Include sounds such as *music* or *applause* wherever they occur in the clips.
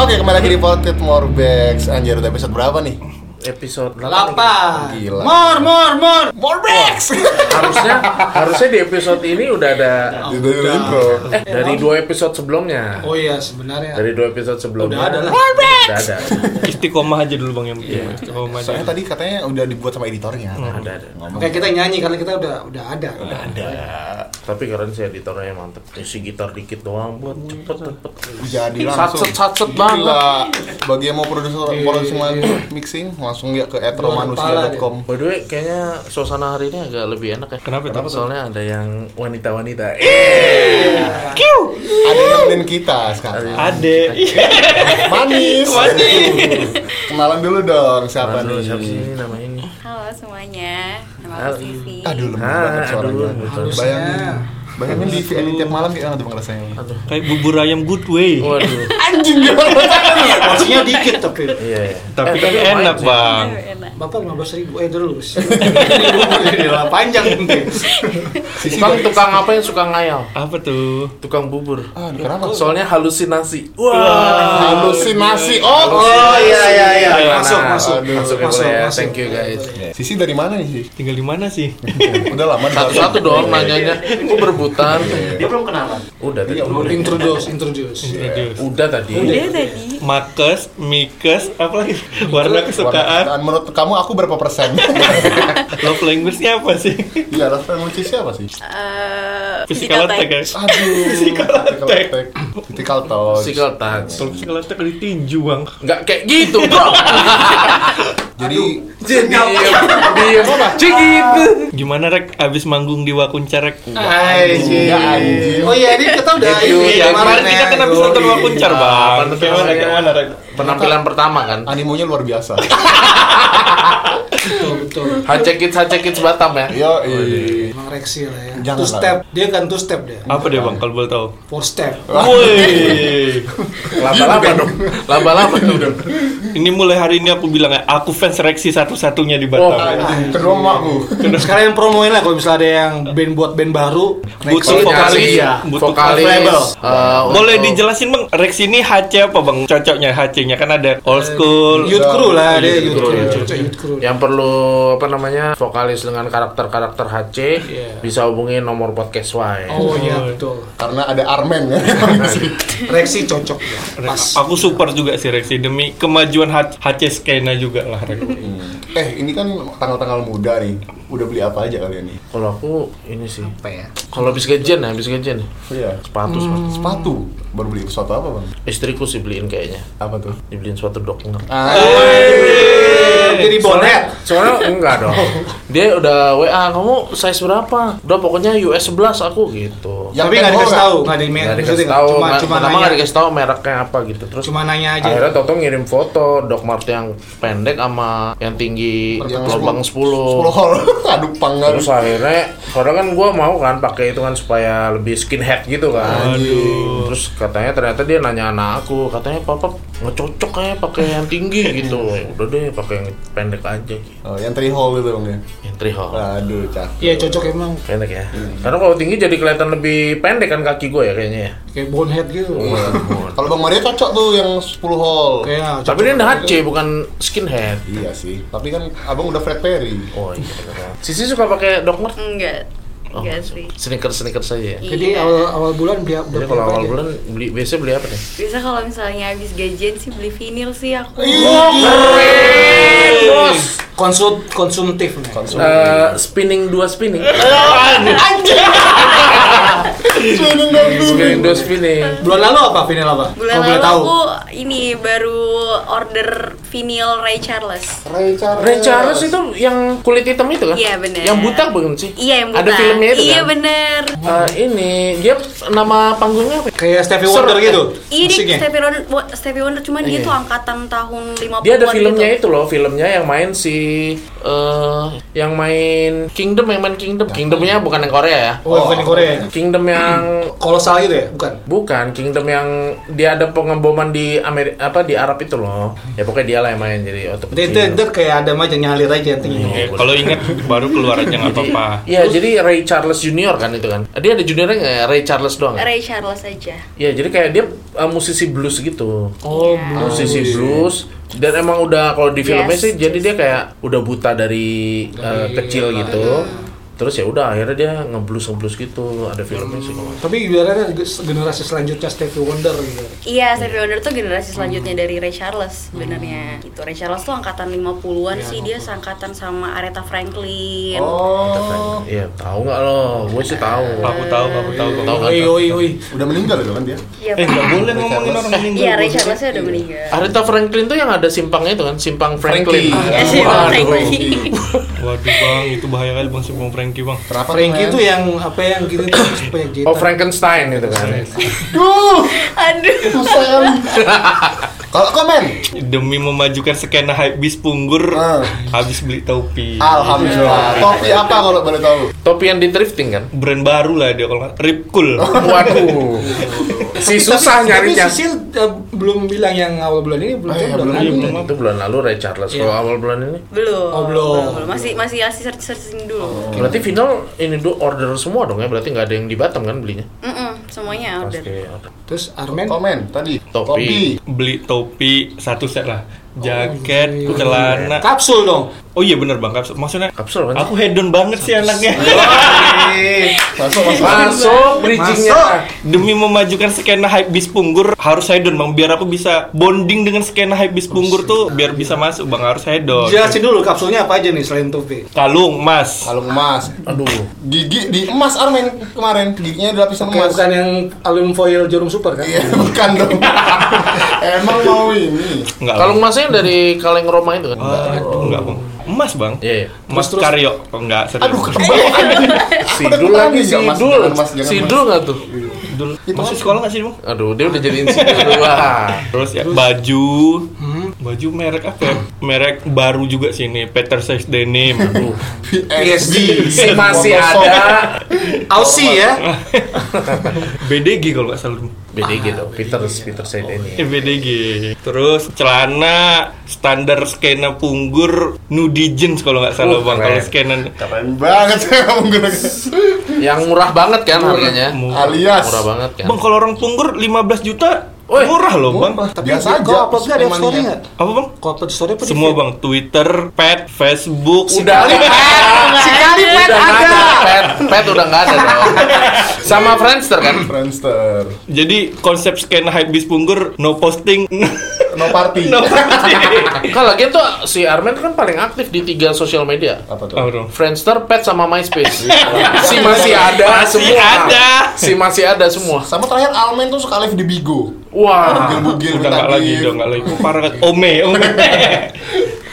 Oke, kembali lagi di Potret Morbex. Anjir, udah episode berapa nih? episode berapa? Lapan. Gila. Mor, mor, mor. Morbex. harusnya harusnya di episode ini udah ada Udah udah intro. eh, dari dua episode sebelumnya Oh iya sebenarnya. dari dua episode sebelumnya Udah ada lah. udah ada istiqomah aja dulu bang yang penting istiqomah aja Iya. Soalnya tadi katanya udah dibuat sama editornya. ada ada Oke kita nyanyi karena kita udah udah ada. Ada. tapi keren sih editornya mantep isi gitar dikit doang buat Iya. cepet cepet Jadi langsung. satset satset banget Gila. Bagi yang mau produser produksi mixing langsung ya ke etromanusia.com. By the way, kayaknya suasana hari ini agak lebih enak ya. Kenapa itu? Soalnya ada yang wanita-wanita. Eh, Ada yang nemenin kita sekarang. ade Manis. Kenalan dulu dong siapa aduh, nih? siapa sih ini nama ini? Halo semuanya, nama aku Halo. Sisi. Aduh, lemah Ah, banget aduh, suaranya. betul. Bayangin. Bayangin di edit tiap malam kayak "Ah, tuh rasanya. kayak bubur ayam good Iya. way Waduh. Anjing gak Porsinya dikit tapi. Iya. iya. tapi Eh, kan lumayan enak sih. bang Aduh, enak. Bapak 15 ribu, eh terus Panjang nanti Tukang tukang apa yang suka ngayal? apa tuh Tukang bubur. Aduh, kenapa? Oh. Soalnya halusinasi. Wah. Halusinasi. Oh, Oh iya iya iya. Ayo, Masuk, Nah, masuk aduh, masuk, Masuk, ya, masuk. Thank you guys. Sisi dari mana nih sih? *laughs* tinggal di mana sih Udah lama Iya. Satu satu dong nanyanya. Kok berebutan? Dia belum kenalan Iya, Udah tadi. Introduce, introduce Introduce. Udah tadi. Dia tadi Makes, mikes, apa lagi? Warna kesukaan, Dan menurut kamu aku berapa persen? love language-nya apa *laughs* sih? Iya, Rafael Muci siapa sih? eh, Physical attack. attack ya? Aduh, physical attack. Physical touch. Physical touch. Kalau physical attack kan ditinju bang Enggak kayak gitu, Bro. Jadi Jadi dia apa? Gitu. Gimana Rek? Abis manggung di Wakunca Rek? Iya. Hai Ya, anjing. Oh iya ini kita udah Thank you, ini ya, Kemarin ya. kita kan abis nonton Iya. Wakuncar bang Pantes Gimana, saya gimana Rek? Penampilan pertama kan. animonya luar biasa. Betul, betul Hacekits hacekits Batam ya. Yo, Emang Rexy lah ya Jangan Two lah. step, dia kan two step dia Apa deh bang kalau boleh tau? Four step *laughs* Woi, Laba-laba dong. Laba-laba dong. ini mulai hari ini aku bilang ya, aku fans Rexy satu-satunya di Batam. Wah, kedua makmu. Sekarang yang promoin lah kalau misalnya ada yang band buat band baru Butuh Rexy. vokalis. Iya. Butuh label. vokalis. eh, Oh, Boleh untuk- dijelasin bang, Rex ini HC apa bang? Cocoknya HC-nya kan ada old school. Youth crew lah dia Youth youth crew, crew iya. Cocok youth crew yang perlu apa namanya vokalis dengan karakter-karakter HC Iya. bisa hubungi nomor podcast Y. Oh iya betul Karena ada Armen ya. Rexy cocok ya Pas Rex- Aku super juga sih Rexy demi kemajuan H- HC skena juga lah Rex. eh, ini kan tanggal-tanggal muda nih. Udah beli apa aja kalian nih? Kalau aku ini sih. Apa ya? Hmm. Kalau habis gajian ya, habis gajian ya. Iya. Sepatu, sepatu. Sepatu. Baru beli sepatu apa, Bang? Istriku sih beliin kayaknya. Apa tuh? Dibeliin sepatu dokter. Iya. Jadi bonet Soalnya enggak dong. *laughs* Dia udah WA, kamu size berapa? Udah pokoknya US 11 aku gitu. Yang tapi nggak tempo dikasih nggak? tahu nggak Nggak di Ya, maksudnya dikasih nggak- tahu, cuma nggak- cuma pertama nanya nggak dikasih tahu mereknya apa gitu. Terus cuma nanya aja akhirnya Toto ngirim foto Doc Mart yang pendek sama yang tinggi Yang gelombang 10. 10 hol. *laughs* Aduh, panggang. Terus akhirnya, karena kan gue mau kan pakai itu kan supaya lebih skinhead gitu kan. Terus katanya ternyata dia nanya anak aku, katanya papa nggak cocok kayak pakai yang tinggi gitu. Udah deh pakai yang pendek aja. gitu. Oh, yang 3 hole itu, Bang ya. Yang trihol. Aduh, cakep. iya cocok emang Pendek ya. Karena kalau tinggi jadi kelihatan lebih pendek kan kaki gue ya kayaknya ya. kayak bonehead gitu Iya, Kalau Bang Maria cocok tuh yang 10 hole. kayak Tapi dia udah HC bukan skinhead. Iya sih. Tapi kan Abang udah Fred Perry. Oh iya. bener banget. Sisi suka pakai Doc Mart? Enggak, Oh, enggak sih. sneakers sneakers saja. ya? jadi Iya. awal awal bulan dia udah gitu. Jadi kalau beli awal aja. bulan beli biasanya beli apa nih? Bisa kalau misalnya habis gajian sih beli vinil sih aku. Bos. konsum konsumtif nih Eh, spinning dua *laughs* spinning. spinning dua spinning. bulan lalu apa vinyl apa Bulan Kalau boleh lalu tahu aku ini baru order vinil Ray Charles. Ray Charles. Ray Charles itu yang kulit hitam itu kan? Iya, bener. Yang buta bukan sih? Iya yang buta. Ada filmnya itu Iya kan? bener. Eh, ini dia nama panggungnya apa? ya? kayak Stevie Seru. Wonder gitu Iya dia musiknya Stevie Wonder, wa- Stevie Wonder cuman dia Iya. tuh angkatan tahun 50-an Dia ada filmnya gitu. itu loh, filmnya yang main si eh yang main Kingdom yang main Kingdom. Kingdomnya bukan yang Korea ya. oh bukan di Korea Kingdom yang kolosal gitu ya bukan bukan Kingdom yang dia ada pengeboman di di Ameri apa di Arab itu loh. Ya pokoknya dia lah yang main jadi otak Itu, itu, itu kayak ada aja nyalir aja nantinya. Ya, kalau ingat baru keluar aja nggak apa-apa. Iya, jadi Ray Charles Junior kan itu kan. Dia ada juniornya nggak ya? Ray Charles doang. kan? Ray Charles aja. Iya, jadi kayak dia uh, musisi blues gitu. Oh, musisi blues dan emang udah kalau di filmnya Yes, sih jadi dia kayak udah buta dari uh, kecil gitu terus ya udah akhirnya dia ngeblus ngeblus gitu ada filmnya sih kalau nggak salah. Tapi ibaratnya generasi selanjutnya Stevie Wonder gitu. Iya, Stevie Wonder tuh generasi selanjutnya dari Ray Charles sebenarnya. Gitu. Ray Charles tuh angkatan 50-an sih, dia seangkatan sama Aretha Franklin. Oh. iya tahu nggak lo gue sih tahu kan? Aku tahu, aku tahu, aku tahu. Iya. Oi oi oi. Udah meninggal itu kan dia? Iya, Eh Pak. nggak boleh ngomongin orang meninggal. Iya, Ray Charles udah meninggal. Aretha Franklin tuh yang ada simpangnya itu kan simpang Franklin Frankie. Ya sih, Waduh. Bang Franklin. Waduh bang, itu bahaya kali bang si Bang Frankie bang. Kenapa Frankie tuh, itu ya? men? yang apa yang gitu tuh supaya gitu. oh Frankenstein itu kan Aduh. Kalau komen. Demi memajukan skena bis punggur, Ah. habis beli topi. Alhamdulillah. Topi apa kalau boleh tahu? topi yang di thrifting kan Brand baru lah dia kalau nggak- Ripkul. waduh si susah Tapi nyarinya Sisil eh, belum bilang yang awal bulan ini belum Oh, iya, tahu, belum, kan? iya, belum. itu bulan lalu Ray Charles kalau awal bulan ini Belum. Oh, belum. Masih masih asli search searching dulu. berarti final ini dulu order semua dong ya berarti nggak ada yang di Batam kan belinya Mm-mm, semuanya order. Pasti order. Terus Armen Komen tadi. Topi. Beli topi satu set lah, jaket, celana. kapsul dong. Oh iya bener bang, kapsul. maksudnya Kapsul kan? aku hedon banget sih anaknya. *laughs* Topi. Masuk masuk. Ah. Masuk bridgingnya. Demi memajukan skena hype bis punggur harus hedon bang, biar aku bisa bonding dengan skena hype bis punggur tuh, biar bisa masuk bang harus hedon. Iya. Jelasin dulu kapsulnya apa aja nih selain topi. Kalung mas. Kalau emas. Aduh, Gigi di emas Armen kemarin. Giginya dilapisin Kayak emas. bukan yang aluminium foil jarum super kan? Iya, *laughs* bukan dong. Emang mau ini. Enggak. kalung emasnya dari kaleng Roma itu kan? Aduh, enggak bang. Emas bang. Iya, iya. Emas Terus, terus. karyo. Oh, enggak serius. Aduh, kebal. Sidul Jangan lagi, mas, jangan sidul. mas, jangan Sidul nggak tuh? Dulu- masih sekolah nggak sih bang? Aduh, dia udah jadi insinyur. Wah. Terus ya baju, Hmm. baju merek apa? ya? Merek baru juga sini, Peter Says Denim. Aduh, PSG. Si masih Botosom. ada. Aussie ya. BDG kalau nggak salah. Beda gitu, Peter, Peter Said ini. Eh, BDG. Terus celana standar skena punggur nudie jeans kalau nggak Uh, salah bang. Kalau keren. skena Keren banget *laughs* saya menggunakan Yang murah banget kan harganya? Murah. alias. Murah banget kan? Bang kalau orang punggur 15 juta Woi, murah loh bang. Tapi biasa Biasa Kau aja. upload nggak di emang story iya. nggak? Apa bang? Kau upload di story apa di Semua feed? bang, Twitter, Pet, Facebook. Udah *laughs* Sekali Udah nggak ada. Pet, pet udah nggak ada dong. Sama Friendster kan? Friendster. Jadi konsep skena hype bis punggur no posting. *laughs* No party. no posting. Kan lagi tuh si Armen kan paling aktif di tiga sosial media. Apa tuh? Oh, dong. Friendster, Pet sama MySpace. si masih ada Masih semua. ada. Si masih ada semua. Sama terakhir Almen tuh suka live di Bigo. Wah. Bugil-bugil Udah nggak minta lagi gift. dong, nggak lagi. Parah kan. Ome, ome.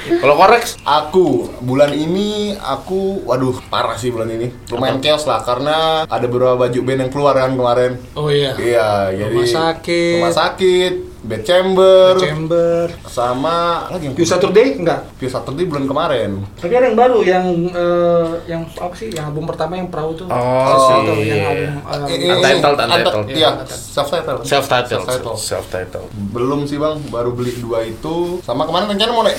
Kalau koreks Aku bulan ini aku waduh parah sih bulan ini. Lumayan chaos lah karena ada beberapa baju band yang keluar kan kemarin. Oh iya. Iya, jadi Rumah sakit. Rumah sakit, Bad Chamber, Chamber. sama lagi yang You Saturday enggak? View Saturday bulan kemarin. Tapi ada yang baru yang eh, yang apa sih? Yang album pertama yang perahu tuh. Oh, Saturday si- yang album eh, iya. Eh, eh, Untitled, eh, Untitled. Unti- Iya, self title. self titled. Self-titled. Self titled. Belum sih bang, baru beli dua itu. Sama kemarin rencana mau naik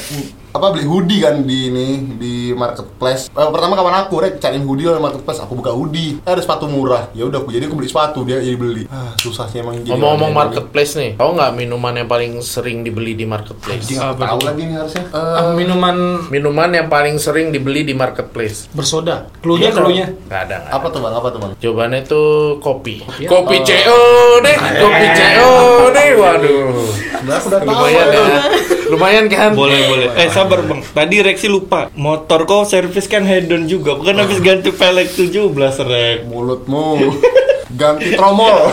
apa beli hoodie kan di ini di marketplace. Eh, pertama kawan aku rek cariin hoodie lah di marketplace, aku buka hoodie. Eh, ada sepatu murah. Ya udah aku jadi aku beli sepatu dia jadi beli. Ah, susah sih emang jadi. Ngomong-ngomong orang ini. marketplace nih, tau nggak minuman yang paling sering dibeli di marketplace? Dia nggak Apa tahu tuh? lagi nih harusnya. eh, minuman Minuman yang paling sering dibeli di marketplace. bersoda. Klunya Iya, klunya. dong. Nggak ada. nggak ada. apa tuh bang? Apa tuh bang? Jawabannya tuh kopi. ya? Kopi COD, kopi COD. Waduh. Sebenarnya aku udah tahu. Lumayan ya. ya. Lumayan kan? Boleh, boleh. Eh, sabar bang. Tadi Rexi lupa. Motor kau servis kan hedon juga. Bukan habis ganti pelek 17, Rek. Mulutmu. Ganti tromol. *laughs*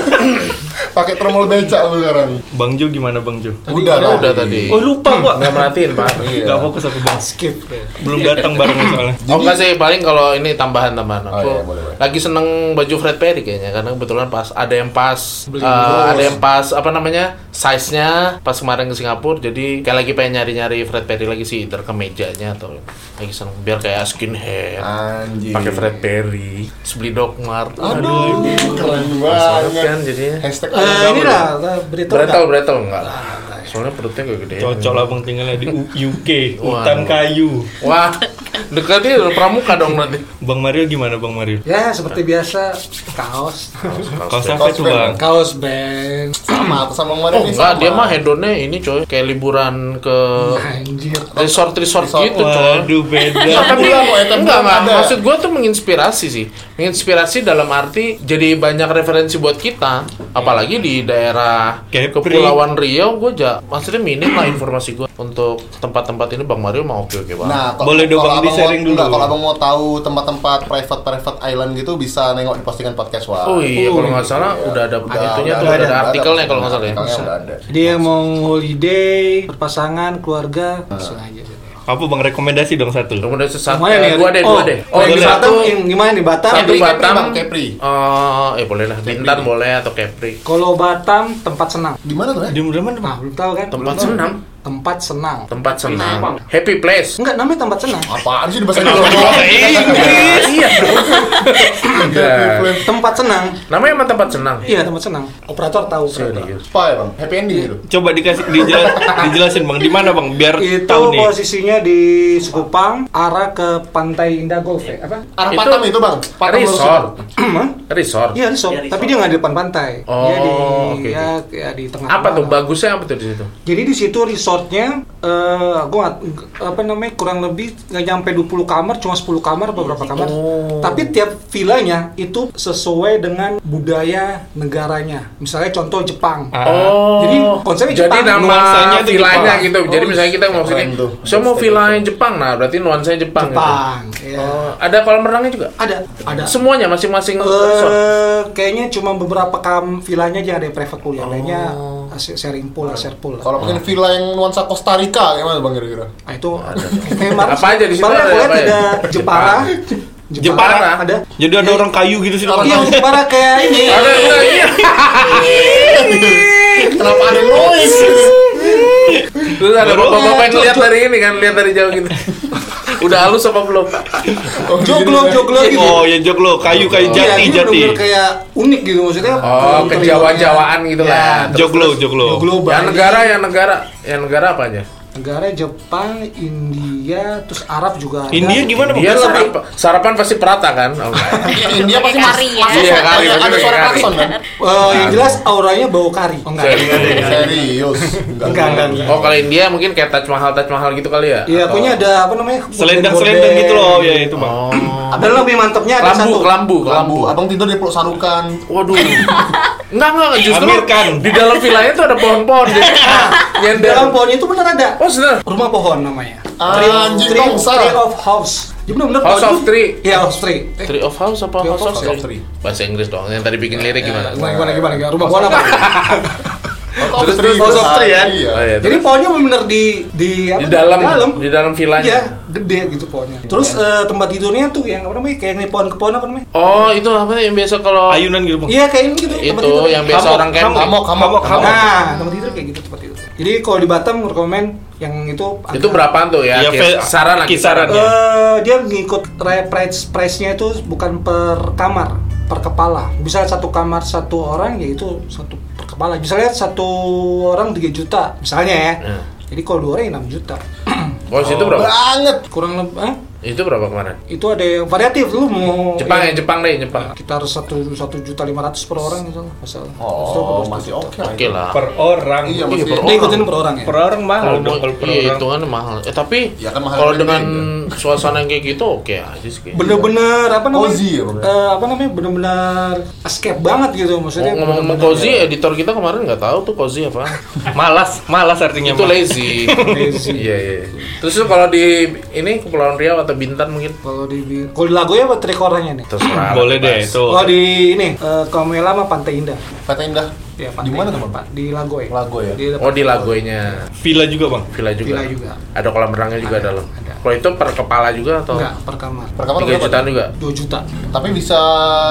Pakai tromol becak lu sekarang. Bang Jo gimana Bang Jo? Udah udah, lah. udah tadi. Oh lupa gua. Nggak merhatiin, Pak. Iya. Gak fokus aku bang. Skip. Eh, Belum datang bareng *laughs* soalnya. Oh enggak sih, paling kalau ini tambahan-tambahan. Oh, Aku iya, boleh, boleh. lagi seneng baju Fred Perry kayaknya karena kebetulan pas ada yang pas Beli eh, terus. ada yang pas apa namanya? size-nya pas kemarin ke Singapura jadi kayak lagi pengen nyari-nyari Fred Perry lagi sih either ke mejanya atau lagi seneng biar kayak skinhead. Ah, Anjing. pakai Fred Perry, terus beli Doc Mart. iya. Aduh, keren Banget banget. kan jadinya. Hashtag Eh, ini lah berita. Bretel, bretel enggak. soalnya perutnya gak gede Cocok lah bang tinggalnya di U- UK, Wah. hutan kayu. wah dekatnya udah pramuka dong nanti Bang Mario gimana Bang Mario? Ya seperti biasa kaos, kan? Kaos ya? apa itu band, bang? kaos band. sama sama kemarin Oh nih, enggak, sama. dia mah hedonnya ini coy Kayak liburan ke Anjir. Ya, resort-resort Resort. gitu coy Waduh *laughs* Nah, beda. Bulan, tapi Boy, tiap enggak, bulan enggak. ada. maksud gue tuh menginspirasi sih menginspirasi dalam arti jadi banyak referensi buat kita apalagi di daerah Kepri. kepulauan Riau gue ja maksudnya minim lah informasi gue untuk tempat-tempat ini Bang Mario mau oke oke banget Nah, kalau- Boleh dong, kalau Bang, abang di-sharing mau- dulu. enggak, kalau abang mau tahu tempat-tempat private private island gitu bisa nengok di postingan podcast wah. oh iya kalau nggak salah Iya. udah ada Udah- itunya udah tuh udah ada artikelnya udah kalau nggak salah ya Artikelnya udah ada. Dia mau holiday, berpasangan, keluarga, langsung aja. Apa bang rekomendasi dong satu? rekomendasi Ah. satu Semuanya nih. dua deh dua Oh, deh Oh, yang di boleh. Batam, Satu- yang gimana nih Batam? satu Kepri, Kepri, Batam Bang, Kepri. Eh, eh boleh lah Bintan boleh atau Kepri Kalau Batam tempat senang. Di mana tuh ya? Di mana Nah, bang? belum tahu kan? tempat senam Tempat senang. tempat senam happy place Enggak, namanya tempat senang. Apaan sih di bahasa Indonesia? iya dong Iya. Enggak. Tempat senang. Namanya emang tempat senang. Iya, tempat senang. Operator tahu. operator. Serius. Apa ya bang? Happy ending gitu. Coba dikasih dijela- dijelasin bang, di mana bang? Biar Itu tahu nih. posisinya di Sekupang, arah ke Pantai Indah Golf ya? Apa? Arah Itu- Batam itu bang. Batam lurus. Resort. Hah? Resort. Iya resort, tapi dia nggak di depan pantai. Oh, dia di, oke, ya, ya di tengah. Apa tuh bang? bagusnya apa tuh di situ? Jadi di situ resortnya, eh gue apa namanya kurang lebih nggak nyampe 20 kamar, cuma 10 kamar apa berapa kamar. Oh. Tapi tiap villanya itu sesuai dengan budaya negaranya. Misalnya contoh Jepang. Oh, Ah. Jadi konsepnya jadi Jepang, nama nuansanya tuh villanya Jepang. gitu. Jadi Oh, misalnya kita mau sini, keren tuh. saya mau villanya Jepang, nah berarti nuansanya Jepang. gitu. Jepang. ya. Oh, ada kolam renangnya juga. Ada, ada. Semuanya masing-masing resort. Eh, kayaknya cuma beberapa kam villanya aja ada yang private pool, yang lainnya Oh. eh, sharing pool, lah, share pool. lah. Kalau pengen villa yang nuansa Costa Rica gimana bang kira-kira? Nah, itu memang Apa aja di situ Baru ada aku lihat apa ya? kan ada Jepara. Jepara? ada. Jadi ada orang kayu gitu sih Iya, bang. Jepara kayak ini. *laughs* Ada enggak, iya. Kenapa ada noise? Terus ada bapak-bapak yang lihat dari ini kan, lihat dari jauh *laughs* gitu. Udah halus apa belum? *laughs* Oh, Joglo, jadi- joglo gitu. Oh ya jog lo, kayu kayu Iya, jati ini jati. bener-bener kayak unik gitu maksudnya. Oh, kejawa-jawaan gitu Ya. lah. Terus- Joglo, joglo. Joglo Yang Bali. negara, yang negara, yang negara apa aja? Negara Jepang, India, terus Arab juga ada. Eh, India gimana Dia bang? sarapan, sarapan pasti perata kan? Oh, *laughs* enggak. Eh, India pasti mas- Kari ya. masuk Iya, suara- kari, ada suara bener, kari. Iya, klakson kan? Eh, yang jelas auranya bau kari. Oh, enggak. Serius. Serius. Enggak, enggak, enggak. Oh kalau India mungkin kayak Taj Mahal, Taj Mahal gitu kali ya? Iya, Atau- pokoknya ada apa namanya? Selendang-selendang gorden. gitu loh, ya itu bang. Oh. Dan lebih mantepnya ada Kelambu, satu. kelambu, kelambu. Lambu, abang tidur di peluk sarukan. Waduh. Enggak, enggak, justru Amir Khan. di dalam vilanya tuh ada pohon-pohon. *laughs* Jadi, nyender. Dalam pohon itu bener ada. Oh, sudah. rumah pohon namanya. Anjing, tree, bangsa. tree of house. Dia benar-benar Ah, House pohon of tuh- tree. Iya, house tree. Eh, Tree of House apa Tree of House of House of Tree? Tree. Bahasa Inggris dong, yang tadi bikin lirik gimana? Gimana, gimana, gimana, gimana? Rumah pohon apa? Terus terus, terus terus, ya. Oh, iya, Jadi pohonnya benar di di apa? di dalam, dalam. di dalam vilanya. Iya, gede gitu pohonnya. Terus eh, tempat tidurnya tuh yang apa namanya? Kayak ini pohon ke pohon apa namanya? Oh, itu apa yang biasa kalau Ayunan gitu bang. Iya, kayak ini gitu tempat itu tidurnya. yang biasa Hammock, orang camping. Hamok, hamok, hamok. Nah, tempat tidur kayak gitu tempat tidur. Jadi kalau di Batam rekomend yang itu Itu antara- berapaan tuh ya? Ya, Kis- fe- Saran lah, kisaran. kisaran. Eh, dia ngikut ra- price price nya itu bukan per kamar per kepala bisa satu kamar satu orang yaitu satu per kepala misalnya satu orang 3 juta misalnya ya Hmm. jadi kalau dua orang ya 6 juta Bos itu berapa? Banget. kurang lebih eh, Itu berapa kemarin? itu ada yang variatif lu mau Jepang ya, ya, Jepang deh, Jepang. kita harus satu satu juta lima ratus per orang gitu lah masalah Oh, masih oke. lah Oke itu. lah. Per orang. Iya, Iya, masih. per- dia ikutin per orang ya Per orang mahal Kalau dong mau- kalau per iya, orang. hitungannya mahal. Eh tapi Ya kan mahal kalau yang dengan gede, suasana yang kayak gitu oke aja sih. kayaknya. bener-bener apa namanya Cozy ya, Bang? Eh, apa namanya bener-bener escape banget gitu maksudnya Ngomong- Oh, Ngomong-ngomong ya? bener-bener- cozy, editor kita kemarin nggak tahu tuh cozy *laughs* apa. Malas, malas artinya. itu Bang. *laughs* lazy. Lazy. Iya iya. Terus tuh kalau di ini Kepulauan Riau atau Bintan mungkin kalau di kalau di Lagoya apa trik orangnya nih terserah. *clears throat* Boleh deh bebas. itu. Oh di ini eh, Komela sama Pantai Indah. Kata Indah. Ya, Di mana tuh, Indah, Bang? Pak? Iya. Di Lagoy. Lagoy ya? Di Oh di Lagoynya. Villa juga bang. Villa juga. Villa juga. Ada kolam renangnya juga Ada, dalam. ada. Kalau itu per kepala juga atau Enggak, per kamar. Per kamar tiga berapa? jutaan juga? 2 juta. Tapi bisa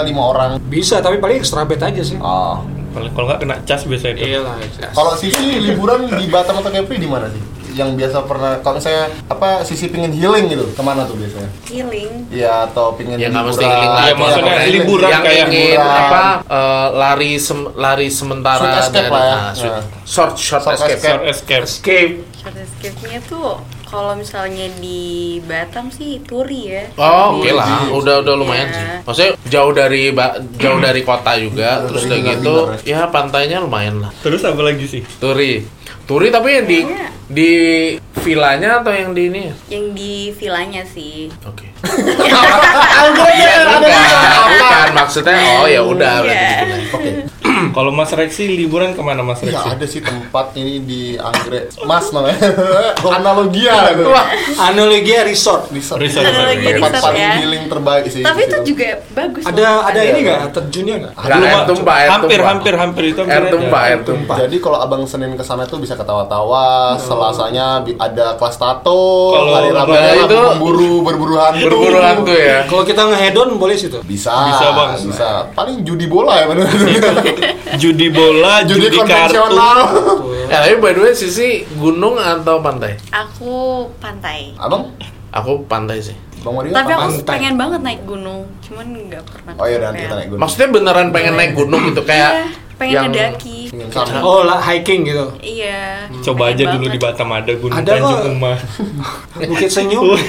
lima orang. Bisa, tapi paling extra bed aja sih. Oh. Kalau kalau nggak kena cas biasa itu. Iya lah. Kalau Sisi liburan di Batam atau Kepri di mana sih? yang biasa pernah kalau misalnya apa sisi pingin healing gitu kemana tuh biasanya? healing Iya atau pingin ya nggak mesti liburan. healing lagi. Iya, lagi maksudnya pokoknya healing. liburan yang kayak ingin liburan. apa *laughs* eh, lari sem- lari sementara Short escape dari lah ya. ah, sweet- Nah. short short, Short escape, escape. Short escape. escape short escape-nya tuh kalau misalnya di Batam sih Turi ya Oh, oke Turi. lah, udah udah lumayan Iya. Iya, sih. Maksudnya jauh dari ba- jauh dari kota juga, terus udah dari gitu, Bogor ya pantainya lumayan lah. Terus apa lagi sih? Turi, Turi tapi yang di Iya. di villanya atau yang di ini? ya? yang di vilanya sih Oke. Iya, Bukan, bukan. maksudnya oh ya udah berarti di Iya. villanya. Oke. Kalau Mas Rexi liburan kemana Mas Iya Rexi? ada sih tempat ini di Anggrek Mas namanya Analogia gitu. tuh analogia resort Resort. Resort. Analogia Tempat resort paling ya. healing terbaik sih tapi di itu situ. juga bagus ada ada Ada. ini nggak terjunnya nggak Nggak, Belum, air Mak. tumpah, air hampir, tumpah. hampir, hampir itu hampir Air aja. tumpah, air tumpah. Jadi kalau abang Senin ke sana tuh bisa Oh. ketawa-tawa, Selasanya bi- ada kelas tato, Kalau hari Rabu Rabunya itu- pemburu berburu hantu. Berburu hantu ya. kalau kita ngehedon boleh situ Bisa, Bisa, Bang. bisa. Paling judi bola ya benar. Judi bola, judi judi, kartu. konvensional. Ya, tapi by the way sisi gunung atau pantai? aku pantai Abang, Aku pantai sih. Bang Mario. tapi apa? aku pantai. pengen banget naik gunung cuman nggak pernah Oh iya, nanti kita naik gunung. Maksudnya beneran pengen naik gunung gitu iya kayak pengen yang- ngedaki Ingin sama. oh lah hiking gitu iya Coba pengen aja dulu di banget. Batam ada Gunung Ada Tanjung kok. *laughs* Uma. bukit Oh, senyum iya.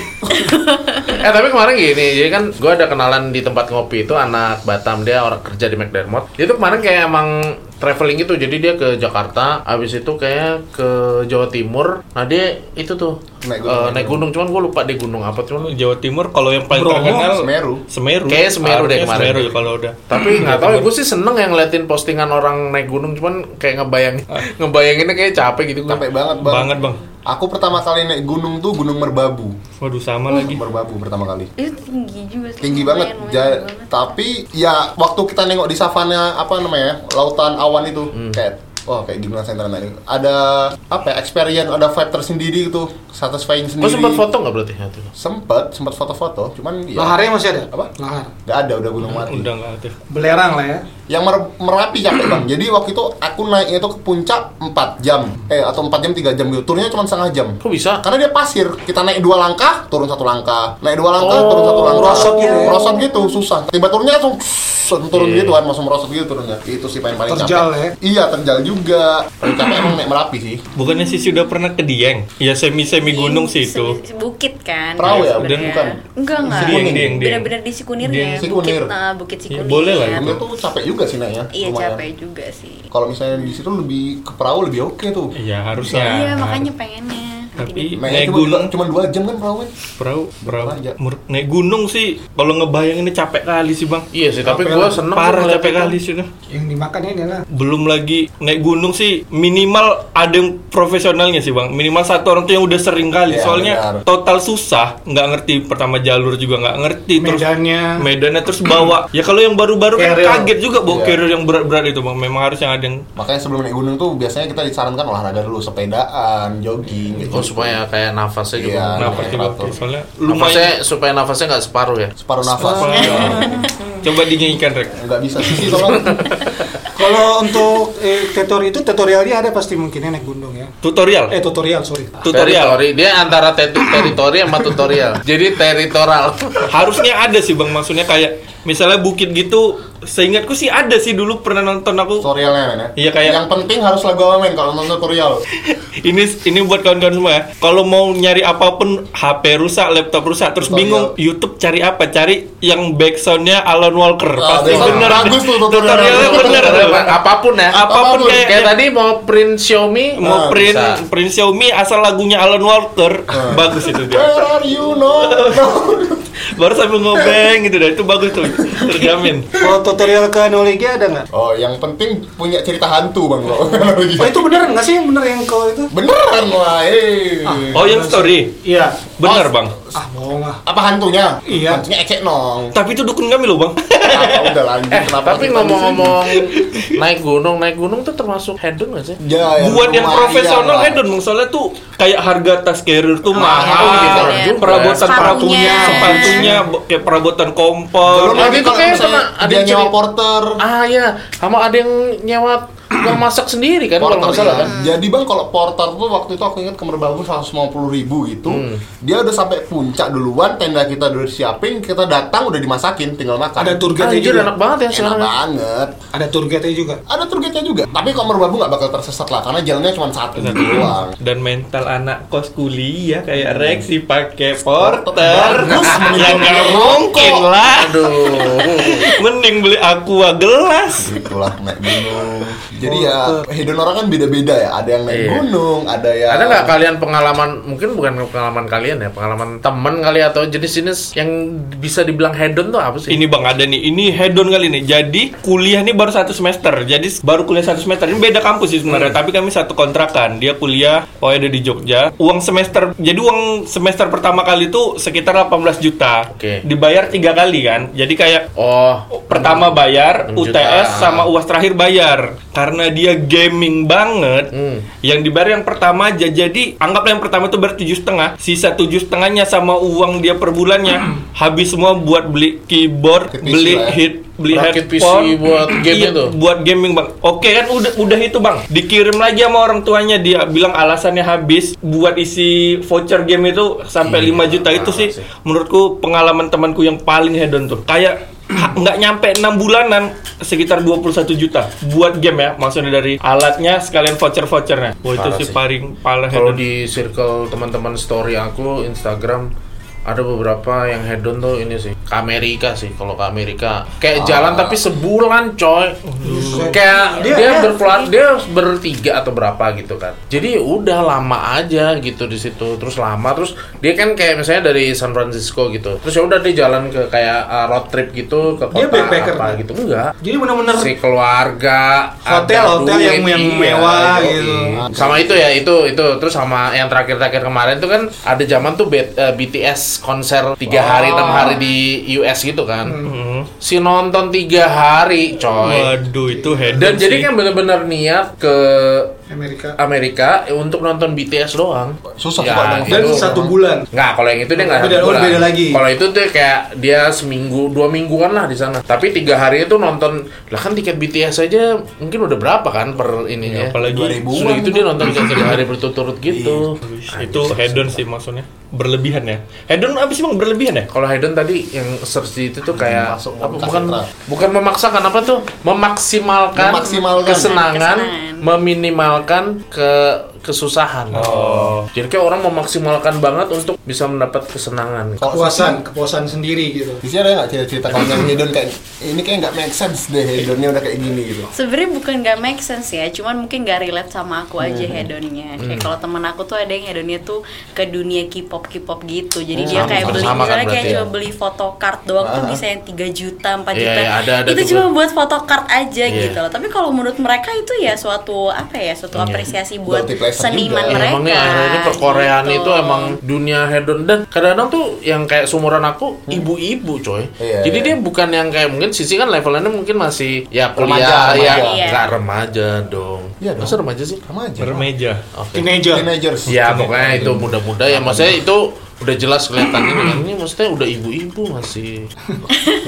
Eh tapi kemarin gini, jadi kan gue ada kenalan di tempat ngopi itu anak Batam dia orang kerja di McDermott. Dia tuh kemarin kayak emang traveling gitu, jadi dia ke Jakarta, abis itu kayak ke Jawa Timur. Nah dia itu tuh Naik gunung, naik gunung, naik naik gunung. cuman gue lupa di gunung apa cuman. Jawa Timur kalau yang paling Bromo, terkenal Semeru. Semeru. Kayaknya Semeru deh Harusnya kemarin. Semeru ya kalau udah. Tapi nggak tahu, gue sih seneng yang ngeliatin postingan orang naik gunung, cuman kayak ngebayangin, Ah. ngebayanginnya kayak capek gitu. gua. Capek banget, Bang. Banget, Bang. Aku pertama kali naik gunung tuh Gunung Merbabu. Waduh Oh, sama lagi. Merbabu pertama kali. itu tinggi juga sih Tinggi lumayan, banget. lumayan Ja- tinggi banget. tapi ya waktu kita nengok di savana apa namanya? ya, Lautan awan itu kayak Wah kayak di Grand Central ini ada apa ya, experience, ada vibe tersendiri gitu, satisfying sendiri. Gue sempat foto nggak berarti? Ya, tuh. Sempet, sempet foto-foto, cuman ya laharnya masih ada Apa? lahar nggak ada udah gunung mati. Udah nggak aktif. belerang lah ya Yang Mer- merapi capek bang. Jadi waktu itu aku naiknya itu ke puncak 4 jam, eh atau 4 jam 3 jam gitu. Turunnya cuma setengah jam. Kok bisa? Karena dia pasir, kita naik dua langkah, turun satu langkah, naik dua langkah, Oh, turun satu langkah. merosot gitu ya. Merosot gitu, susah. Tiba turunnya langsung langsung turun Iya. gitu kan, langsung merosot gitu turunnya. Itu sih paling paling Terjal ya? capek. Iya, terjal juga. Paling capek emang naik merapi sih. Bukannya sih sudah pernah ke Dieng? Ya Iya, semi-semi gunung sih itu. Semi- bukit kan Perahu ya? sebenarnya. Dan bukan? enggak enggak Dieng, Dieng, Dieng. benar-benar di Sikunirnya Dieng. Sikunir. bukit eh, bukit Ya, Sikunir boleh Iya. lah itu. Turunnya tuh capek juga sih naiknya. iya lumayan. capek juga sih Kalau misalnya di situ lebih ke perahu lebih oke tuh. Iya harusnya. iya makanya pengennya Tapi- Naiknya Naik cuma, gunung. cuma dua jam kan perahu kan? Perahu, perahu. Aja. Mur- Naik gunung sih. Kalau ngebayanginnya capek kali sih bang. Iya sih, tapi gue seneng sih Parah ngeliat capek itu. kali sih. dah. yang dimakan ini lah Belum lagi naik gunung sih minimal ada yang profesionalnya sih bang. Minimal satu orang tuh yang udah sering kali. Iya, Soalnya benar. total susah, nggak ngerti pertama jalur juga nggak ngerti. Terus medannya medannya terus bawa. ya kalau yang baru-baru kan Carrier. kaget juga Iya. bawa carrier yang berat-berat itu bang. Memang harus yang ada yang Makanya sebelum naik gunung tuh biasanya kita disarankan olahraga dulu, sepedaan, jogging gitu. Oh supaya kayak nafasnya juga. Iya. Nafasnya- nafasnya teratur. oke. Soalnya Nafasnya lumayan. supaya nafasnya nggak separuh ya. Separuh nafas. *laughs* Coba dinyanyikan rek. Enggak bisa sih soalnya. kalau untuk eh, tutorial itu tutorialnya ada pasti mungkinnya naik gunung ya Tutorial. eh tutorial sorry tutorial. Teritori. Dia antara te- teritori sama tutorial. Jadi teritorial. Harusnya ada sih bang, maksudnya kayak misalnya bukit gitu, seingatku sih ada sih dulu pernah nonton aku. Tutorialnya men ya. Iya, kayak- yang penting harus lagu apa men kalau nonton tutorial. *laughs* Ini ini buat kawan-kawan semua ya. Kalau mau nyari apapun HP rusak, laptop rusak, terus Tutorial. bingung YouTube cari apa? Cari yang backsoundnya Alan Walker. Ah, Pasti backsound. bener. Bagus tuh tutorialnya. tutorialnya bener. tuh. Apapun ya. Apapun Apapun. kayak, Kayak tadi mau print Xiaomi, mau Ah, print bisa. print Xiaomi asal lagunya Alan Walker Ah. bagus itu dia. Where are you no? Baru sambil ngobeng gitu dah itu bagus tuh terjamin. kalau tutorial ke analogi ada nggak oh, yang penting punya cerita hantu bang *laughs* lo. oh itu beneran nggak sih yang bener yang kalau itu Nah, Beneran lah, eh. Oh yang story iya bener bang. ah bohong lah Apa hantunya? Iya. Hantunya ecek nong. *laughs* Tapi itu dukun kami loh bang. Ah, udah lanjut. Eh, Kenapa tapi kita ngomong-ngomong naik gunung, naik gunung tuh termasuk hedon gak sih? di sini? Ya, ya, *laughs* buat yang lumayan profesional kan, lah. Ah, hedon Bang. soalnya tuh kayak harga tas carrier tuh mahal iya, gitu. iya. perabotan Sepatunya. perabotannya sepatunya bo- kayak perabotan kompor Belum Waktu lagi itu kalau kayak misalnya pernah ada dia yang nyewa cerita- porter. Ah ya, sama ada iya. yang nyewa Tukang masak sendiri kan porter kalau nggak salah ya. kan. Jadi bang kalau porter tuh waktu itu aku ingat kamar bagus 150 ribu gitu. Hmm. Dia udah sampai puncak duluan, tenda kita udah siapin, kita datang udah dimasakin, tinggal makan. Ada tour guide-nya Anjir gitu. juga. enak banget ya Enak sekarang. ya. banget. Ada tour guide-nya juga. Ada tour guide-nya juga. Tapi kamar babu nggak bakal tersesat lah, karena jalannya cuma satu gitu doang. dan mental anak kos kuliah ya, kayak Rexi pakai porter Bagus, mending ya nggak beli mungkin rokok. lah Aduh. mending beli aqua gelas Itulah naik gunung. Jadi ya hedon orang kan beda-beda ya. Ada yang naik Iya. gunung, ada ya yang Ada nggak kalian pengalaman mungkin bukan pengalaman kalian ya pengalaman temen kali atau jenis-jenis yang bisa dibilang hedon tuh apa sih? ini bang ada nih ini hedon kali ini jadi kuliah nih baru satu semester jadi baru kuliah satu semester ini beda kampus sih sebenarnya tapi kami satu kontrakan dia kuliah oh ada di Jogja uang semester jadi uang semester pertama kali itu sekitar 18 juta Oke. dibayar tiga kali kan jadi kayak Oh, pertama bayar 6 juta. UTS sama uas terakhir bayar karena dia gaming banget Hmm. yang dibayar yang pertama aja jadi anggaplah yang pertama itu bayar tujuh setengah sisa tujuh setengahnya sama uang dia per bulannya habis semua buat beli keyboard Ke PC beli lah ya. hit beli Rakit PC headphone *clears throat* buat game Iya, itu. buat gaming bang oke kan udah udah itu bang dikirim lagi sama orang tuanya dia bilang alasannya habis buat isi voucher game itu sampai 5 juta itu sih menurutku pengalaman temanku yang paling hedon tuh kayak ha- nggak nyampe enam bulanan sekitar 21 juta buat game ya maksudnya dari alatnya sekalian voucher vouchernya wah itu Parah sih sih. paling paling kalau hedon di circle teman-teman story aku Instagram ada beberapa yang hedon tuh ini sih ke Amerika sih kalau ke Amerika kayak Ah. jalan tapi sebulan coy kayak dia, Dia- dia dia- berplat- dia bertiga atau berapa gitu kan jadi udah lama aja gitu di situ terus lama terus dia kan kayak misalnya dari San Francisco gitu terus ya udah dia jalan ke kayak uh, road trip gitu ke Dia kota backpacker. kan? apa gitu enggak Jadi benar-benar si keluarga Hotel, ada hotel yang- yang iya, mewah yoi. gitu. sama itu ya itu itu terus sama yang terakhir terakhir kemarin tuh kan ada zaman tuh B- eh, BTS konser tiga hari enam hari di US gitu kan Hmm. si nonton tiga hari coy Hmm. waduh itu Oh, hedon iya. dan jadi sih. kan bener-bener niat ke Amerika. Amerika untuk nonton BTS doang susah Ya, Pak, itu nonton. Dan satu bulan. Nggak, kalau yang itu dia nggak Beda- satu oh, bulan. beda lagi. Kalau itu tuh kayak dia seminggu, dua mingguan lah di sana. Tapi tiga hari itu nonton, lah kan tiket BTS aja mungkin udah berapa kan per ininya. Ya, Iya, apalagi 2000. Sudah gitu dia nonton tiga tiga hari berturut-turut gitu. itu hedon sih maksudnya berlebihan ya hedon apa sih bang berlebihan ya Kalau Hayden tadi yang search di itu tuh kayak Masuk apa, podcast bukan ekstra. bukan memaksakan apa tuh memaksimalkan, Memaksimalkan. kesenangan, Kesenangan. meminimalkan ke kesusahan. Oh. Jadi kayak orang memaksimalkan banget untuk bisa mendapat kesenangan. Kalau Kepuasan, kepuasan sendiri gitu. Di sini ada nggak cerita-cerita kalau yang hedon kayak ini kayak nggak make sense deh hedonnya udah kayak gini gitu. Sebenarnya bukan gak make sense ya, cuman mungkin gak relate sama aku aja Hmm. hedonnya. Kayak kalau temen aku tuh ada yang hedonnya tuh ke dunia K-pop K-pop gitu. Jadi dia Sama, kayak beli sama kan misalnya kayak berarti ya. Ah. cuma beli photocard doang tuh bisa yang 3 juta, 4 Iya, juta. iya, ada- ada itu tuh cuma gua. buat photocard aja Iya. gitu loh. Tapi kalau menurut mereka itu ya suatu apa ya, suatu apresiasi buat Guilty pleasure seniman juga. mereka. Iya, Emangnya akhirnya perkoreaan gitu. itu emang dunia hedon dan kadang-kadang tuh yang kayak sumuran aku ibu-ibu coy. Iya, Jadi iya. dia bukan yang kayak mungkin sisi kan levelannya mungkin masih ya Remaja, kuliah remaja. ya Iya. nggak remaja dong. Iya dong. Masa remaja sih? Sama aja. bermeja Oke. Teenager. Teenagers. Ya pokoknya itu muda-muda ya maksudnya itu udah jelas kelihatannya *clears throat* kan ini maksudnya udah ibu-ibu masih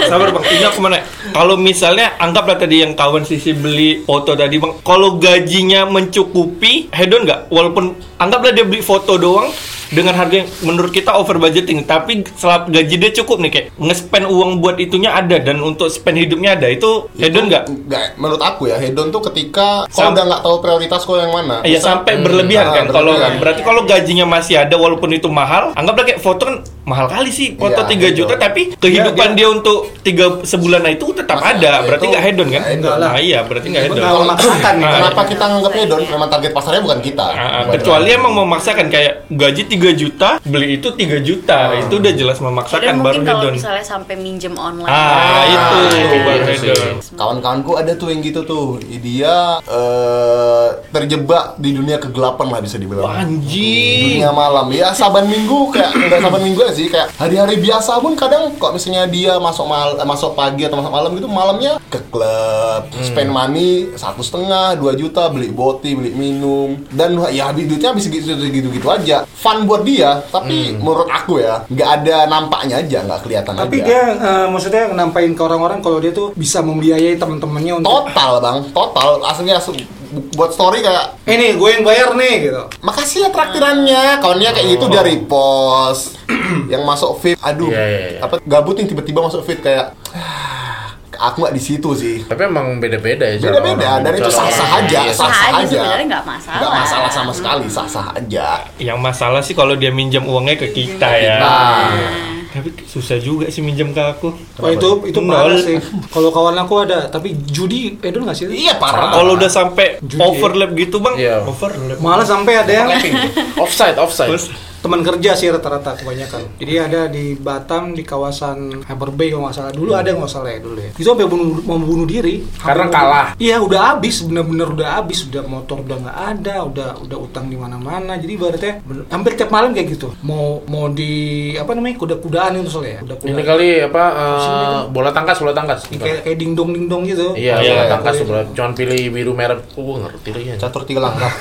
Sabar bang, ini aku mana? Kalau misalnya anggaplah tadi yang kawan sisi beli foto tadi bang, kalau gajinya mencukupi, hedon nggak? Walaupun anggaplah dia beli foto doang dengan harga yang menurut kita over budgeting, tapi selap gaji dia cukup nih kayak nge-spend uang buat itunya ada dan untuk spend hidupnya ada itu hedon nggak? Nggak, menurut aku ya hedon tuh ketika kalau Sam- udah nggak tahu prioritas kau yang mana. Iya sampai berlebihan ah, kan kalau berlebihan. berarti kalau gajinya masih ada walaupun itu mahal anggaplah kayak foto kan mahal kali sih foto Iya, 3 juta hedon. tapi kehidupan dia untuk tiga sebulan nah itu tetap Masa iya ada itu berarti nggak hedon kan nggak hedon. Nah, iya berarti nggak hedon Nggak memaksakan. Ah, Kenapa kita nganggap hedon? Memang target pasarnya bukan kita. Ah, ah, Bukan kecuali emang memaksakan kayak gaji 3 juta beli itu 3 juta Ah. itu udah jelas Padahal kan memaksakan baru mungkin kalau hedon misalnya sampai minjem online. gitu. ah itu itu baru sih. hedon Kawan-kawanku ada tuh yang gitu tuh. Dia eh, terjebak di dunia kegelapan lah bisa dibilang. anjing dunia malam ya saban minggu kayak nggak saban minggu ya sih kayak hari-hari biasa pun kadang kok misalnya dia masuk mal eh, masuk pagi atau masuk malam gitu malamnya ke klub spend money satu setengah dua juta beli boti beli minum dan ya habis duitnya habis gitu gitu, gitu aja fun buat dia, tapi menurut aku ya nggak ada nampaknya aja, nggak kelihatan Tapi aja. dia eh, maksudnya nampain ke orang-orang kalau dia tuh bisa membiayai teman-temannya untuk total bang, total aslinya asu- bu- buat story kayak ini gue yang bayar "Eh, nih gitu. Makasih ya traktirannya, kawannya kayak gitu dia repost *clears throat* yang masuk feed, aduh, Oh. Iya, iya, iya. apa gabut nih tiba-tiba masuk feed kayak, "Ah, aku nggak di situ sih, Tapi emang beda-beda ya. cara beda-beda orang- dan itu cara orang- sah-sah aja, Iya, sah sah-sah aja, aja, sebenarnya nggak masalah. Nggak masalah sama sekali, sah-sah aja. Yang masalah sih kalau dia minjam uangnya ke kita ya. Nah, Tapi susah juga sih minjam ke aku. Wah Oh, itu itu Nol. parah sih. Kalau kawan aku ada, tapi judi edul nggak sih? iya parah. Kalau udah sampai Judi. overlap gitu, Bang. Iya. Overlap. Malah sampai ada yang Clapping. Offside, offside. Terus teman kerja sih rata-rata kebanyakan. Jadi ada di Batam di kawasan Harbor Bay kalau nggak salah dulu ada nggak salah ya dulu ya. Itu sampai bunuh, mau bunuh diri Karena Hampir- kalah. Iya udah habis bener-bener udah habis udah motor udah nggak ada udah udah utang di mana-mana. Jadi ibaratnya bener- hampir tiap malam kayak gitu. Mau mau di apa namanya kuda-kudaan itu soalnya. Udah Ini kuda kali apa eh, bola tangkas, bola tangkas. kayak kayak dingdong dingdong gitu. Iya, Iya, bola iya. tangkas bola. Cuman pilih biru merah. Oh, gua ngerti lagi ya. catur tiga *laughs* langkah.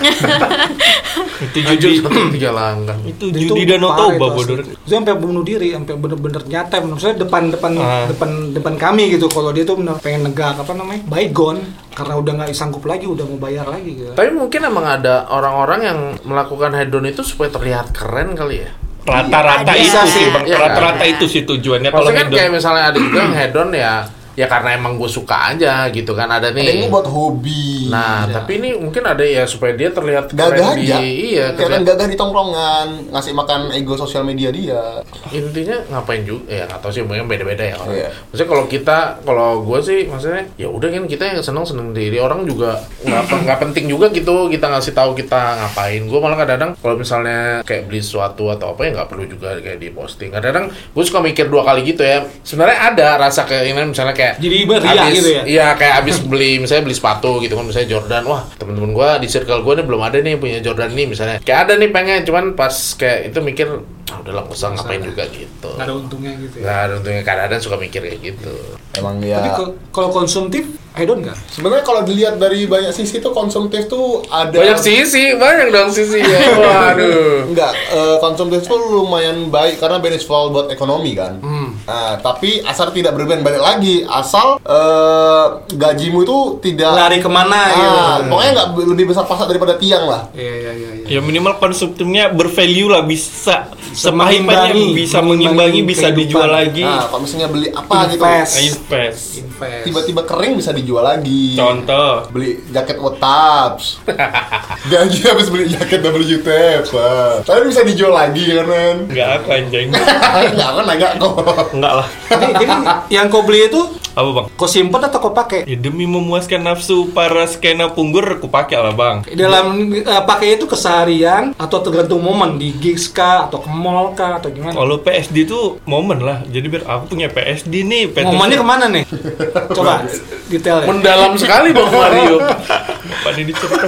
itu Jujur judi. seperti tiga langkah. itu Dan judi itu dan parah itu otoba asli. Iya, bodoh. Itu sampai bunuh diri, sampai bener-bener nyata. Maksudnya depan depan Ah. depan depan kami gitu. Kalau dia tuh bener pengen negak apa namanya? Baygon karena udah nggak sanggup lagi, udah mau bayar lagi gitu. Tapi mungkin emang ada orang-orang yang melakukan hedon itu supaya terlihat keren kali ya. Rata-rata Iya, itu ada. sih, Bang. Iya, Rata-rata ada. itu sih tujuannya Ya, kalau Maksudnya kan hedon. kayak misalnya ada juga yang hedon ya, ya karena emang gue suka aja gitu kan ada Ada yang nih. buat hobi. Iya. Nah, tapi ini mungkin ada ya supaya dia terlihat keren gagah di aja. iya, kelihatan terlihat- gagah di tongkrongan, ngasih makan ego sosial media dia. intinya ngapain juga ya nggak tahu sih mungkin beda-beda ya orang. Iya. Maksudnya kalau kita kalau gue sih maksudnya ya udah kan kita yang seneng seneng diri orang juga nggak pe- nggak penting juga gitu kita ngasih tahu kita ngapain gue malah kadang-kadang kalau misalnya kayak beli sesuatu atau apa ya nggak perlu juga kayak di posting kadang-kadang gue suka mikir dua kali gitu ya sebenarnya ada rasa keinginan misalnya kayak Jadi ibarat ria abis- gitu ya? Iya kayak abis beli misalnya beli sepatu gitu kan misalnya Jordan wah temen-temen gue di circle gue nih belum ada nih punya Jordan nih misalnya kayak ada nih pengen cuman pas kayak itu mikir ah, udah lah nggak usah ngapain juga gitu Nggak ada untungnya gitu ya. nggak ada untungnya kadang-kadang suka mikir kayak gitu Emang ya. Tapi ko- kalau konsumtif, I don't nggak. Sebenarnya kalau dilihat dari banyak sisi tuh konsumtif tuh ada banyak sisi banyak dong sisi ya *laughs* waduh Enggak, eh, konsumtif itu lumayan baik karena beneficial buat ekonomi kan. Hmm. Nah, tapi asal tidak berben balik lagi, asal eh, gajimu itu tidak Lari kemana Ah, gitu. Pokoknya nggak be- lebih besar pasak daripada tiang lah. Iya iya iya. iya. Ya minimal konsumtifnya bervalue lah bisa mengimbangi, semahipannya bisa mengimbangi mengimbangi bisa kehidupan. dijual Ah. lagi. Nah, Nah, kalau misalnya beli apa gitu, Invest. Invest. Invest. tiba-tiba kering bisa dijual lagi. Contoh. beli jaket *laughs* Otaps gaji habis beli jaket WTF ah. tapi bisa dijual lagi kan men Enggak aku anjing. *laughs* nggak kan agak kok Enggak lah. Jadi, jadi yang kau beli itu Apa, Bang? kau simpen atau kau pakai? Ya demi memuaskan nafsu para skena punggur aku pakai lah, Bang. Dalam eh, pakai itu keseharian atau tergantung momen di gigs kah atau ke mall kah atau gimana? Kalau PSD itu momen lah. Jadi biar aku punya PSD nih. Petrus. Momennya kemana nih? Coba detail ya. mendalam sekali dong Mario Apa nih dicetak?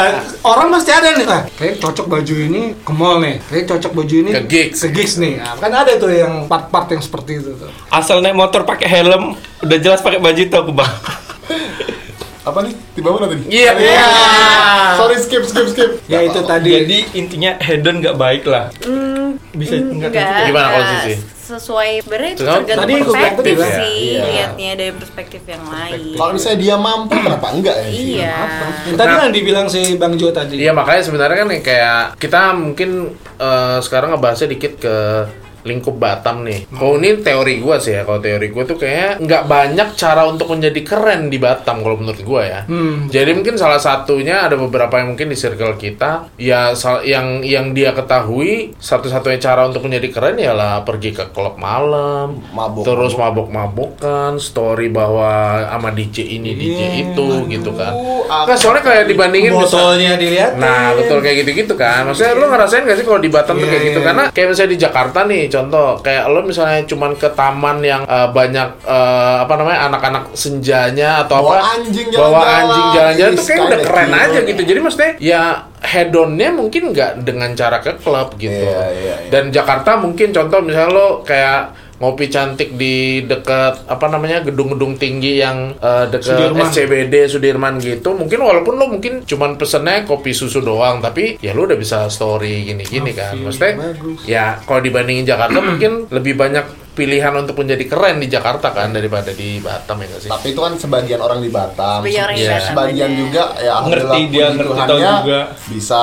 Eh, orang pasti ada nih, eh, kayak cocok baju ini ke mall nih, kayak cocok baju ini Ke gigs. nih. Nah, kan ada tuh yang part-part yang seperti itu tuh. Asal naik motor pakai helm, udah jelas pakai baju itu aku, Bang. apa nih tiba mana tadi Iya. Iya. sorry skip skip skip Ya oh, itu tadi. *laughs* Jadi intinya hedon nggak baik lah. Bisa enggak Enggak, tentu. gitu. Gimana kalau enggak. sisi? Sesuai sebenarnya itu Tadi tergantung aku bilang perspektif tadi, ya? sih Iya. lihatnya dari perspektif yang lain. kalau misalnya dia mampu kenapa enggak ya Iya. Yang tadi yang dibilang si Bang Jo tadi. Iya makanya sebenarnya kan kayak kita mungkin eh, sekarang ngebahasnya dikit ke lingkup Batam nih. Kalau ini teori gua sih ya, kalau teori gua tuh kayaknya nggak banyak cara untuk menjadi keren di Batam kalau menurut gua ya. Jadi mungkin salah satunya ada beberapa yang mungkin di circle kita ya sal- yang yang dia ketahui satu-satunya cara untuk menjadi keren ialah pergi ke klub malam, Mabok. terus mabok-mabokan, story bahwa sama DJ ini DJ itu gitu kan. aku- Nah, soalnya kayak dibandingin misal- Botolnya dilihat. Nah, betul kayak gitu-gitu kan. Maksudnya lu ngerasain gak sih kalau di Batam tuh Iya, kayak gitu? iya, Karena kayak misalnya di Jakarta nih, contoh kayak lu misalnya cuman ke taman yang eh, banyak eh, apa namanya anak-anak senjanya atau Bawa apa? anjing bawa jalan-jalan. anjing jalan-jalan tuh Is kayak udah kinda keren cute. aja gitu. Jadi maksudnya ya hedonnya mungkin nggak dengan cara ke klub gitu. Iya, iya, iya. Dan Jakarta mungkin contoh misalnya lo kayak ngopi cantik di dekat apa namanya gedung-gedung tinggi yang eh, dekat Sudirman. SCBD Sudirman gitu mungkin walaupun lo mungkin cuman pesennya kopi susu doang tapi ya lo udah bisa story gini-gini kan maksudnya bagus. ya kalau dibandingin Jakarta *clears throat* mungkin lebih banyak pilihan untuk menjadi keren di Jakarta kan daripada di Batam ya nggak sih Tapi itu kan sebagian orang di Batam. Sebagian Iya, orang di Se- Batam, sebagian bener. juga ya alhamdulillah Ngerti dia, puji ngerti tahu Tuhannya juga. bisa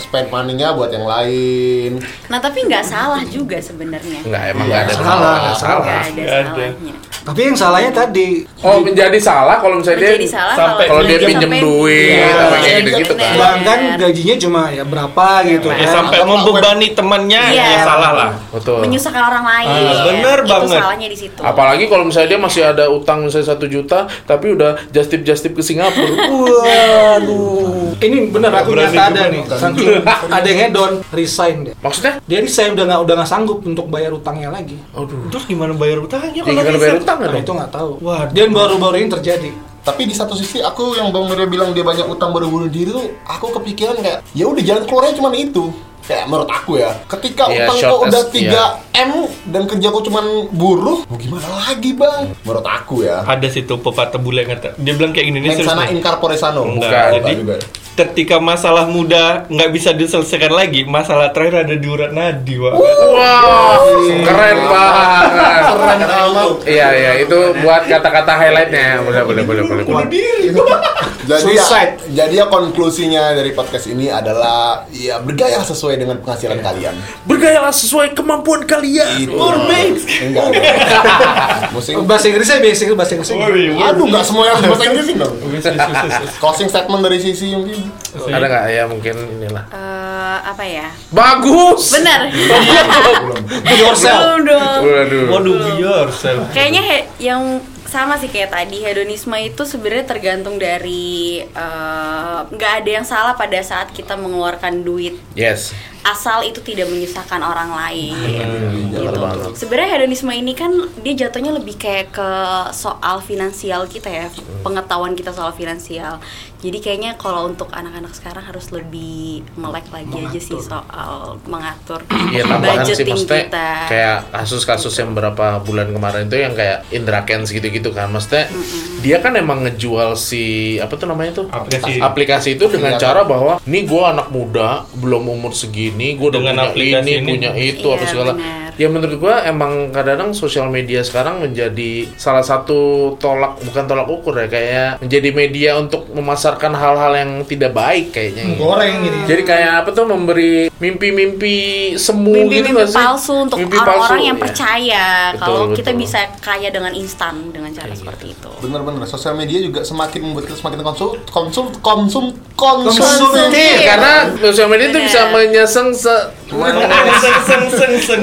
spend money-nya buat yang lain. Nah tapi nggak salah juga sebenarnya. nggak emang Iya, nggak ada salah, salah, nggak salah. Nggak ada Nggak ada. salahnya. Tapi yang salahnya tadi Oh menjadi salah kalau misalnya Menjadi dia salah sampai- kalau dia sampai- pinjem duit Iya, apa iya, kayak gitu-gitu bener. kan. Bahkan gajinya cuma ya berapa gitu Iya, Ya kan. sampai Atau membebani temannya Iya. ya salah lah. Betul. Menyusahkan orang lain. Iya, Ah, bener itu banget. salahnya di Gitu. situ. Apalagi kalau misalnya dia masih ada utang misalnya satu juta, tapi udah just tip just tip ke *laughs* Singapura. Waduh. Ini bener aku Berani nyata ada juga nih. bukan? Saking ada yang hedon resign deh. Maksudnya? Dia resign udah nggak udah nggak sanggup untuk bayar utangnya lagi. Aduh. Terus gimana bayar utangnya Ya gimana bayar utang kan? Nah, itu nggak tahu. Waduh. Dan baru-baru ini terjadi. Tapi di satu sisi aku yang Bang Maria bilang dia banyak utang baru bunuh diri tuh, aku kepikiran kayak ya udah jalan keluarnya cuma itu. Kayak menurut aku ya, ketika Iya, utang short kau udah as- 3 M dan kerja kau cuma buruh, mau gimana lagi bang? Menurut aku ya. Ada situ pepatah bule yang kata dia bilang kayak gini nih Mensana sana nih. incarpore sano. Bukan, Enggak, jadi juga. ketika masalah muda nggak bisa diselesaikan lagi, masalah terakhir ada di urat nadi, Wak. Wow, keren banget. Keren amat. Iya iya itu buat kata-kata highlightnya. Boleh boleh boleh boleh. boleh. *laughs* Jadi ya, Suicide. jadi ya konklusinya dari podcast ini adalah ya bergaya sesuai dengan penghasilan kalian. Bergayalah sesuai kemampuan kalian. Itu. Enggak. enggak. Musik. Bahasa Inggrisnya bahasa Inggris bahasa Oh, Inggris. iya. Aduh, enggak semua yang bahasa Inggris dong. Closing statement dari sisi mungkin. Ada nggak ya mungkin inilah. Eh, apa ya? Bagus. Bener. *laughs* Be yourself. Belum dong. Waduh. Waduh, be yourself. Kayaknya he- yang sama sih kayak tadi hedonisme itu sebenarnya tergantung dari eh, nggak ada yang salah pada saat kita mengeluarkan duit Yes. asal itu tidak menyusahkan orang lain. Iya, Gitu. Bener banget. Sebenarnya hedonisme ini kan dia jatuhnya lebih kayak ke soal finansial kita ya, pengetahuan kita soal finansial. Jadi kayaknya kalau untuk anak-anak sekarang harus lebih melek lagi aja sih soal mengatur *clears throat* Iya tambahan sih budgeting maksudnya kita. kayak kasus-kasus yang berapa bulan kemarin itu yang kayak Indra Kents gitu-gitu kan maksudnya dia kan emang ngejual si apa tuh namanya tuh Aplikasi. aplikasi itu dengan Iya. cara bahwa nih gua anak muda belum umur segini gua udah Dengan punya aplikasi ini, ini. punya itu Iya, apa segala benar. ya menurut gua emang kadang-kadang sosial media sekarang menjadi salah satu tolak bukan tolak ukur ya kayak menjadi media untuk memasarkan hal-hal yang tidak baik kayaknya gitu. Goreng ini. Jadi kayak apa tuh memberi mimpi-mimpi semu gitu Mimpi-mimpi nggak sih? palsu untuk Mimpi orang-orang palsu, yang ya. percaya Betul, kalau kita betul. Iya. bisa kaya dengan instan dengan cara seperti itu. Bener-bener, sosial media juga semakin membuat kita semakin konsum, konsum, konsum, konsum. Konsumtif. Karena sosial media itu Bener. bisa menyeseng se *laughs* Seng, seng, seng, seng.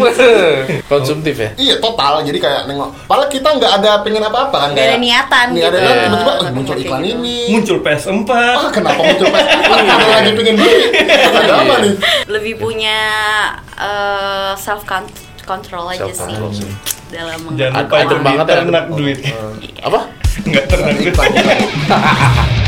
konsumtif ya. Iya total, jadi kayak nengok. Padahal kita nggak ada pengen apa-apa kan Nggak ada kayak- niatan Nggak ada gitu. niatan, tiba-tiba Iya. eh, muncul iklan ini. Muncul PS4. Ah kenapa muncul pas? Ada lagi pengen beli. Ada apa nih? lebih punya self control aja sih Self-control sih. dalam meng- Jangan Ad- lupa adem itu banget ya. ternak duit. Apa? Enggak ternak duit.